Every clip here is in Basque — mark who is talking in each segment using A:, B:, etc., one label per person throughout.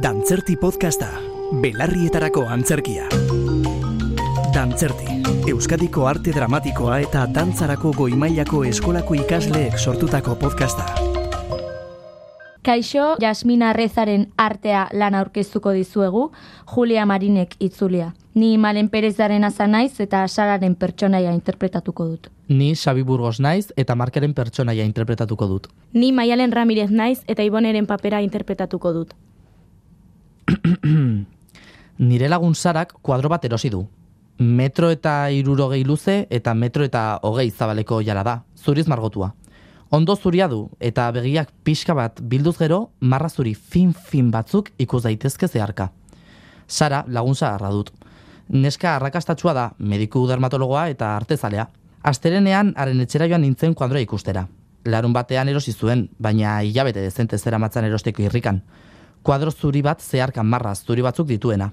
A: Dantzerti podcasta, belarrietarako antzerkia. Dantzerti, Euskadiko arte dramatikoa eta dantzarako goimailako eskolako ikasleek sortutako podcasta.
B: Kaixo, Jasmina Arrezaren artea lan aurkeztuko dizuegu, Julia Marinek itzulia. Ni Malen Perezaren aza naiz eta Sararen pertsonaia interpretatuko dut.
C: Ni Xabi Burgos naiz eta markaren pertsonaia interpretatuko dut.
D: Ni Maialen Ramirez naiz eta Iboneren papera interpretatuko dut.
C: Nire lagun Sarak kuadro bat erosi du. Metro eta irurogei luze eta metro eta hogei zabaleko jala da, zuriz margotua. Ondo zuria du eta begiak pixka bat bilduz gero marra zuri fin-fin batzuk ikus daitezke zeharka. Sara lagun zaharra dut. Neska arrakastatsua da, mediku dermatologoa eta artezalea. Asterenean haren etxera joan nintzen kuadroa ikustera. Larun batean erosi zuen, baina hilabete dezente zera matzan erosteko irrikan. Kuadro zuri bat zeharkan marra zuri batzuk dituena.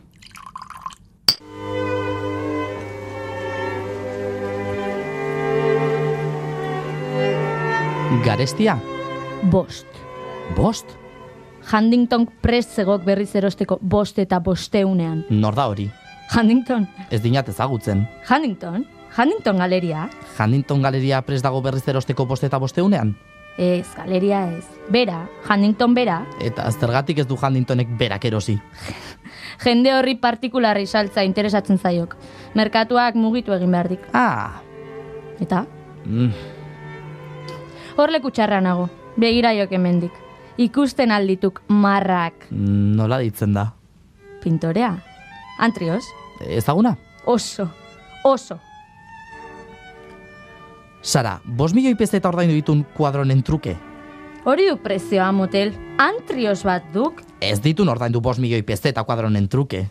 C: Garestia,
B: Bost.
C: bost,
B: Huntington Press zegok berriz erosteko bost eta bosteunean.
C: nor da hori,
B: Huntington,
C: ez dinat ezagutzen.
B: Huntington, Huntington galeria.
C: Handington galeria prest dago berriz erosteko bost eta bosteunean?
B: Ez, galeria ez. Bera, Huntington bera,
C: Eta zergatik ez du Handingtonek berak erosi.
B: jende horri partikularri saltza interesatzen zaiok. Merkatuak mugitu egin behar dik.
C: Ah,
B: Eta?
C: mm,
B: Hor leku txarra nago, begiraiok hemendik. Ikusten aldituk marrak,
C: nola ditzen da?
B: pintorea. Antrios,
C: Ezaguna?
B: oso, oso.
C: Sara, bost milioi pezeta ordaindu ditun kuadronen truke.
B: Hori du prezioa motel, antrios bat duk,
C: Ez ditun ordaindu bost milioi pezeta kuadronen truke.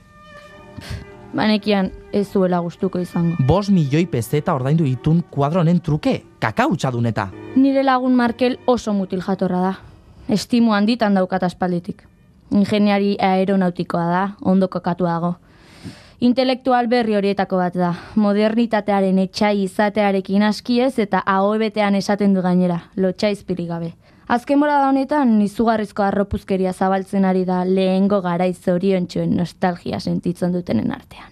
B: banekian ez zuela gustuko izango.
C: Bost milioi pezeta ordaindu ditun kuadronen truke. Kakautxadun eta.
B: Nire lagun Markel oso mutil jatorra da. Estimo handitan daukat aspalditik. Ingeniari aeronautikoa da, ondo kokatua dago. Intelektual berri horietako bat da. Modernitatearen etxai izatearekin askiez eta ahobetean esaten du gainera, lotxa izpirik gabe. Azken da honetan, izugarrizko arropuzkeria zabaltzen ari da lehengo garaiz zorion nostalgia sentitzen dutenen artean.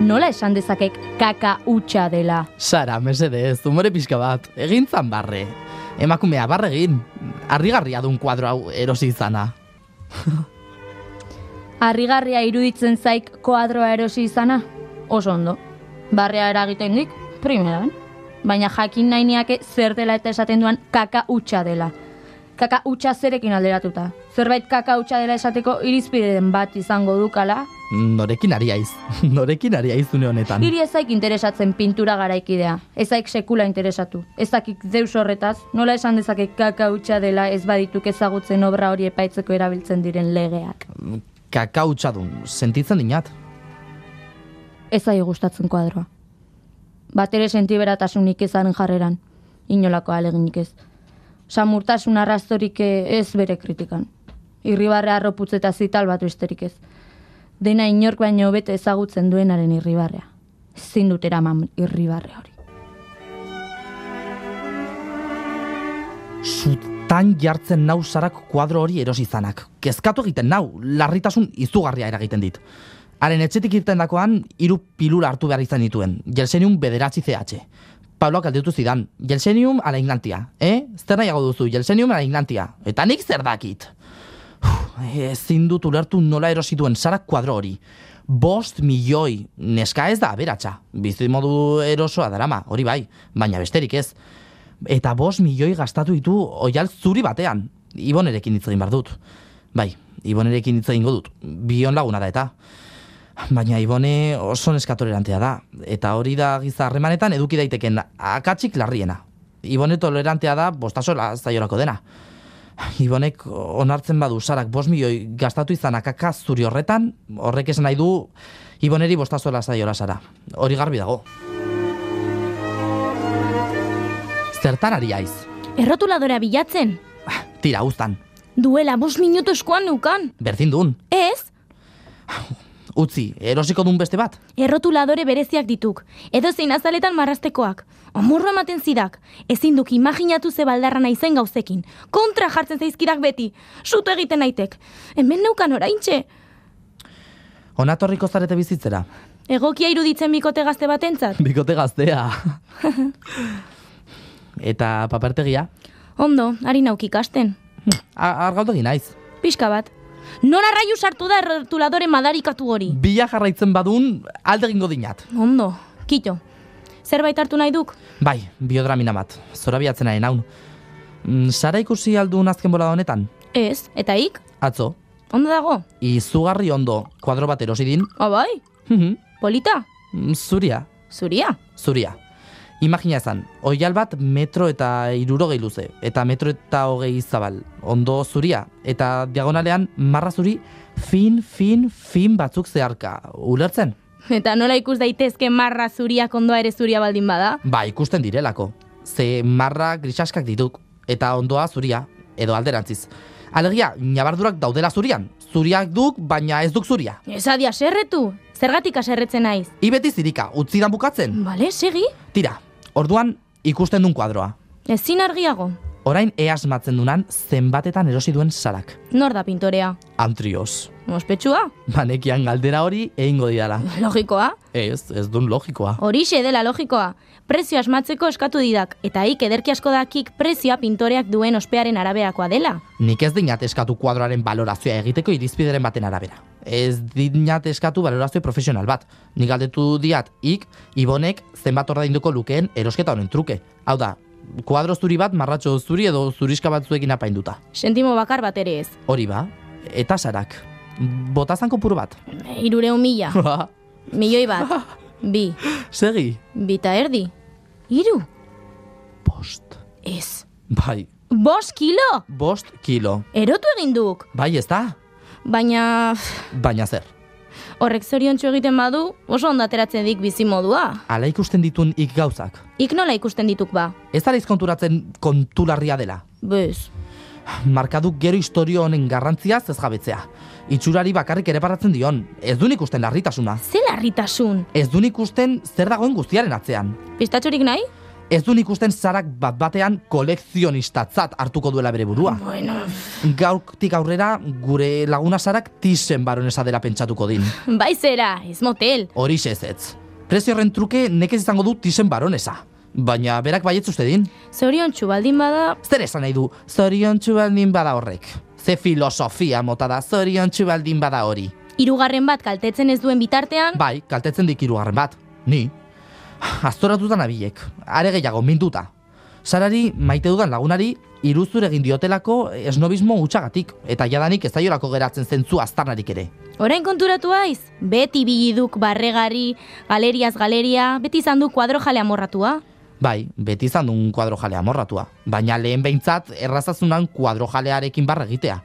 B: Nola esan dezakek kaka hutsa dela?
C: Sara, mesedez, umore pixka bat. Egintzan barre. Emakumea barre egin. Arrigarria dun kuadro hau erosi izana.
B: Harrigarria iruditzen zaik koadroa erosi izana? Oso ondo. Barrea eragiten dik, primeran. Baina jakin nahi niake zer dela eta esaten duan kaka hutsa dela. Kaka hutsa zerekin alderatuta. Zerbait kaka hutsa dela esateko irizpideen bat izango dukala.
C: Norekin ari aiz. Norekin ari aiz une honetan.
B: Hiri ezaik interesatzen pintura garaikidea. Ezaik sekula interesatu. Ezakik deus horretaz, nola esan dezake kaka hutsa dela ez badituk ezagutzen obra hori epaitzeko erabiltzen diren legeak.
C: Kakautxadun, sentitzen dinat.
B: ez zai gustatzen kuadroa. Bat ere sentiberatasunik ezaren jarreran, inolako aleginik ez. Samurtasun arrastorik eh, ez bere kritikan. Irribarre arroputz eta zital batu isterik ez. Dena inork baino hobeto ezagutzen duenaren irribarrea. Ezin dut eraman irribarre hori.
C: Sutan jartzen nau sarak kuadro hori erosi izanak. Kezkatu egiten nau, larritasun izugarria eragiten dit. Haren etxetik irten dakoan, hiru pilula hartu behar izan dituen. Jelsenium bederatzi CH. Pabloak aldetu zidan, Jelsenium ala Inglantia. Eh? Zer nahiago duzu, Jelsenium ala Inglantia. Eta nik zer dakit? Uf, Ezin dut ulertu nola erosi duen sarak kuadro hori. Bost milioi, neska ez da aberatsa. Bizimodu erosoa darama, hori bai, baina besterik ez eta bost milioi gastatu ditu oial zuri batean. Ibonerekin hitz egin behar dut. Bai, Ibonerekin hitz egingo dut. Bion laguna da eta. Baina Ibone oso neskatolerantea da. Eta hori da giza harremanetan eduki daiteken akatsik larriena. Ibone tolerantea da bostaso la- zaiolako dena. Ibonek onartzen badu sarak bost milioi gastatu izan akaka zuri horretan, horrek esan nahi du Iboneri bostazola zaiola sara. Hori garbi dago. Zertan ari aiz?
D: Errotuladora bilatzen,
C: Tira, uztan.
D: duela bost minutu eskuan neukan.
C: Berdin dun.
D: Ez,
C: Utzi, erosiko dun beste bat.
D: errotuladore bereziak dituk, edo zein azaletan marrastekoak. Amorro ematen zidak, ezin duk imaginatu ze baldarra naizen gauzekin. Kontra jartzen zaizkidak beti, suto egiten naitek. Hemen neukan oraintxe.
C: Onatorriko zarete bizitzera.
D: Egokia iruditzen bikote gazte batentzat.
C: Bikote gaztea. Eta papertegia?
D: Ondo, ari nauk ikasten.
C: A- Argaldegi naiz.
D: Pixka bat. Nora raiu sartu da errotuladore madarikatu hori?
C: Bila jarraitzen badun, alde egingo dinat.
D: Ondo, kito. Zerbait hartu nahi duk?
C: Bai, biodramina bat, zorabiatzen ari naun. Mm, Sara ikusi aldun azken bola honetan?
D: Ez, eta ik?
C: Atzo,
D: Ondo dago?
C: izugarri ondo, kuadro bat erosi din.
D: Abai,
C: Mhm,
D: polita,
C: mm, zuria,
D: zuria.
C: zuria. Imagina ezan, oial bat metro eta irurogei luze, eta metro eta hogei zabal, ondo zuria, eta diagonalean marra zuri fin, fin, fin batzuk zeharka, ulertzen?
D: Eta nola ikus daitezke marra zuriak ondoa ere zuria baldin bada?
C: Ba, ikusten direlako. Ze marra grisaskak dituk, eta ondoa zuria, edo alderantziz. Alegia, nabardurak daudela zurian. Zuriak duk, baina ez duk zuria.
D: Esadi aserretu, zergatik aserretzen naiz.
C: Ibeti zirika, utzidan bukatzen.
D: Bale, segi?
C: Tira, orduan ikusten duen kuadroa.
D: Ezin argiago.
C: Orain easmatzen dunan zenbatetan erosi duen sarak.
D: Nor da pintorea?
C: Antrios.
D: Ospetsua?
C: Banekian galdera hori egingo didala.
D: Logikoa?
C: Ez, ez dun logikoa.
D: Horixe dela logikoa. Prezio asmatzeko eskatu didak, eta ik ederki asko dakik prezioa pintoreak duen ospearen araberakoa dela.
C: Nik ez dinat eskatu kuadroaren balorazioa egiteko irizpideren baten arabera. Ez dinat eskatu balorazio profesional bat. Nik galdetu diat, ik, ibonek zenbat ordainduko lukeen erosketa honen truke. Hau da, kuadro zuri bat marratxo zuri edo zuriska batzuekin apainduta.
D: Sentimo bakar bat ere ez.
C: Hori ba, eta sarak. Botazan kopuru bat.
D: Irureun mila,
C: Ba.
D: milioi bat, bi,
C: Segi.
D: bita erdi, hiru,
C: Bost.
D: ez.
C: Bai,
D: Bost kilo!
C: bost kilo.
D: Erotu egin duk,
C: Bai ez da,
D: baina pff,
C: baina zer.
D: horrek zorion egiten badu oso ondo ateratzen dik bizimodua.
C: Ala ikusten ditun ik gauzak.
D: Ik nola ikusten dituk ba,
C: Ez da konturatzen kontularria dela.
D: bez.
C: markadu gero historio honen garrantziaz ez jabetzea. Itxurari bakarrik ere paratzen dion, ez dun ikusten larritasuna.
D: Ze larritasun,
C: Ez dun ikusten zer dagoen guztiaren atzean.
D: pistatxorik nahi?
C: Ez dun ikusten zarak bat batean kolekzionistatzat hartuko duela bere burua.
D: Bueno,
C: Gaurtik aurrera gure laguna zarak tisen baronesa dela pentsatuko din.
D: bai zera, ez motel.
C: Horixe ez ez. Prezio horren truke nekez izango du tisen baronesa. Baina berak baietz uste din.
D: Zorion baldin bada,
C: Zer esan nahi du, zorion txubaldin bada horrek. Ze filosofia mota da, zorion txubaldin bada hori.
D: hirugarren bat kaltetzen ez duen bitartean,
C: Bai, kaltetzen dik hirugarren bat. Ni. Aztoratuta nabilek, are gehiago minduta. Sarari maite dudan lagunari iruzur egin diotelako esnobismo utxagatik eta jadanik ez zaiolako geratzen zentzu aztarnarik ere.
D: orain konturatu aiz, beti biliduk barregari, galeriaz galeria, beti izan du kuadro jale amorratua.
C: Bai, beti izan duen kuadro jalea morratua, baina lehen behintzat errazazunan kuadro jalearekin barra egitea.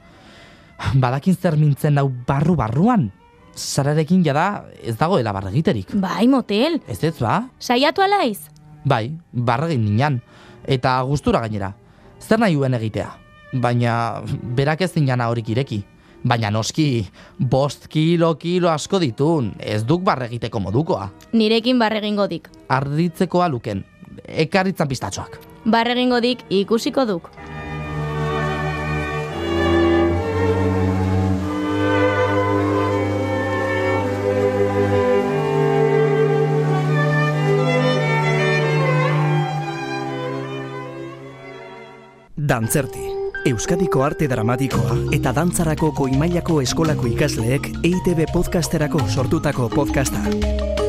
C: Badakin zer mintzen hau barru-barruan? Sararekin jada ez dagoela barra egiterik.
D: Bai, motel,
C: Ez ez ba?
D: saiatu alaiz.
C: Bai, barregin ninan, eta gustura gainera. Zer nahi duen egitea? Baina, berak ez dinana horik ireki. Baina noski, bost kilo kilo asko ditun, ez duk barregiteko modukoa.
D: Nirekin barregingo dik.
C: Arditzekoa luken, ekarritzan pistatxoak.
D: Barregingo dik ikusiko duk.
A: Dantzerti, Euskadiko arte dramatikoa eta E dantzarako goimailako eskolako ikasleek EITB podcasterako sortutako podcasta.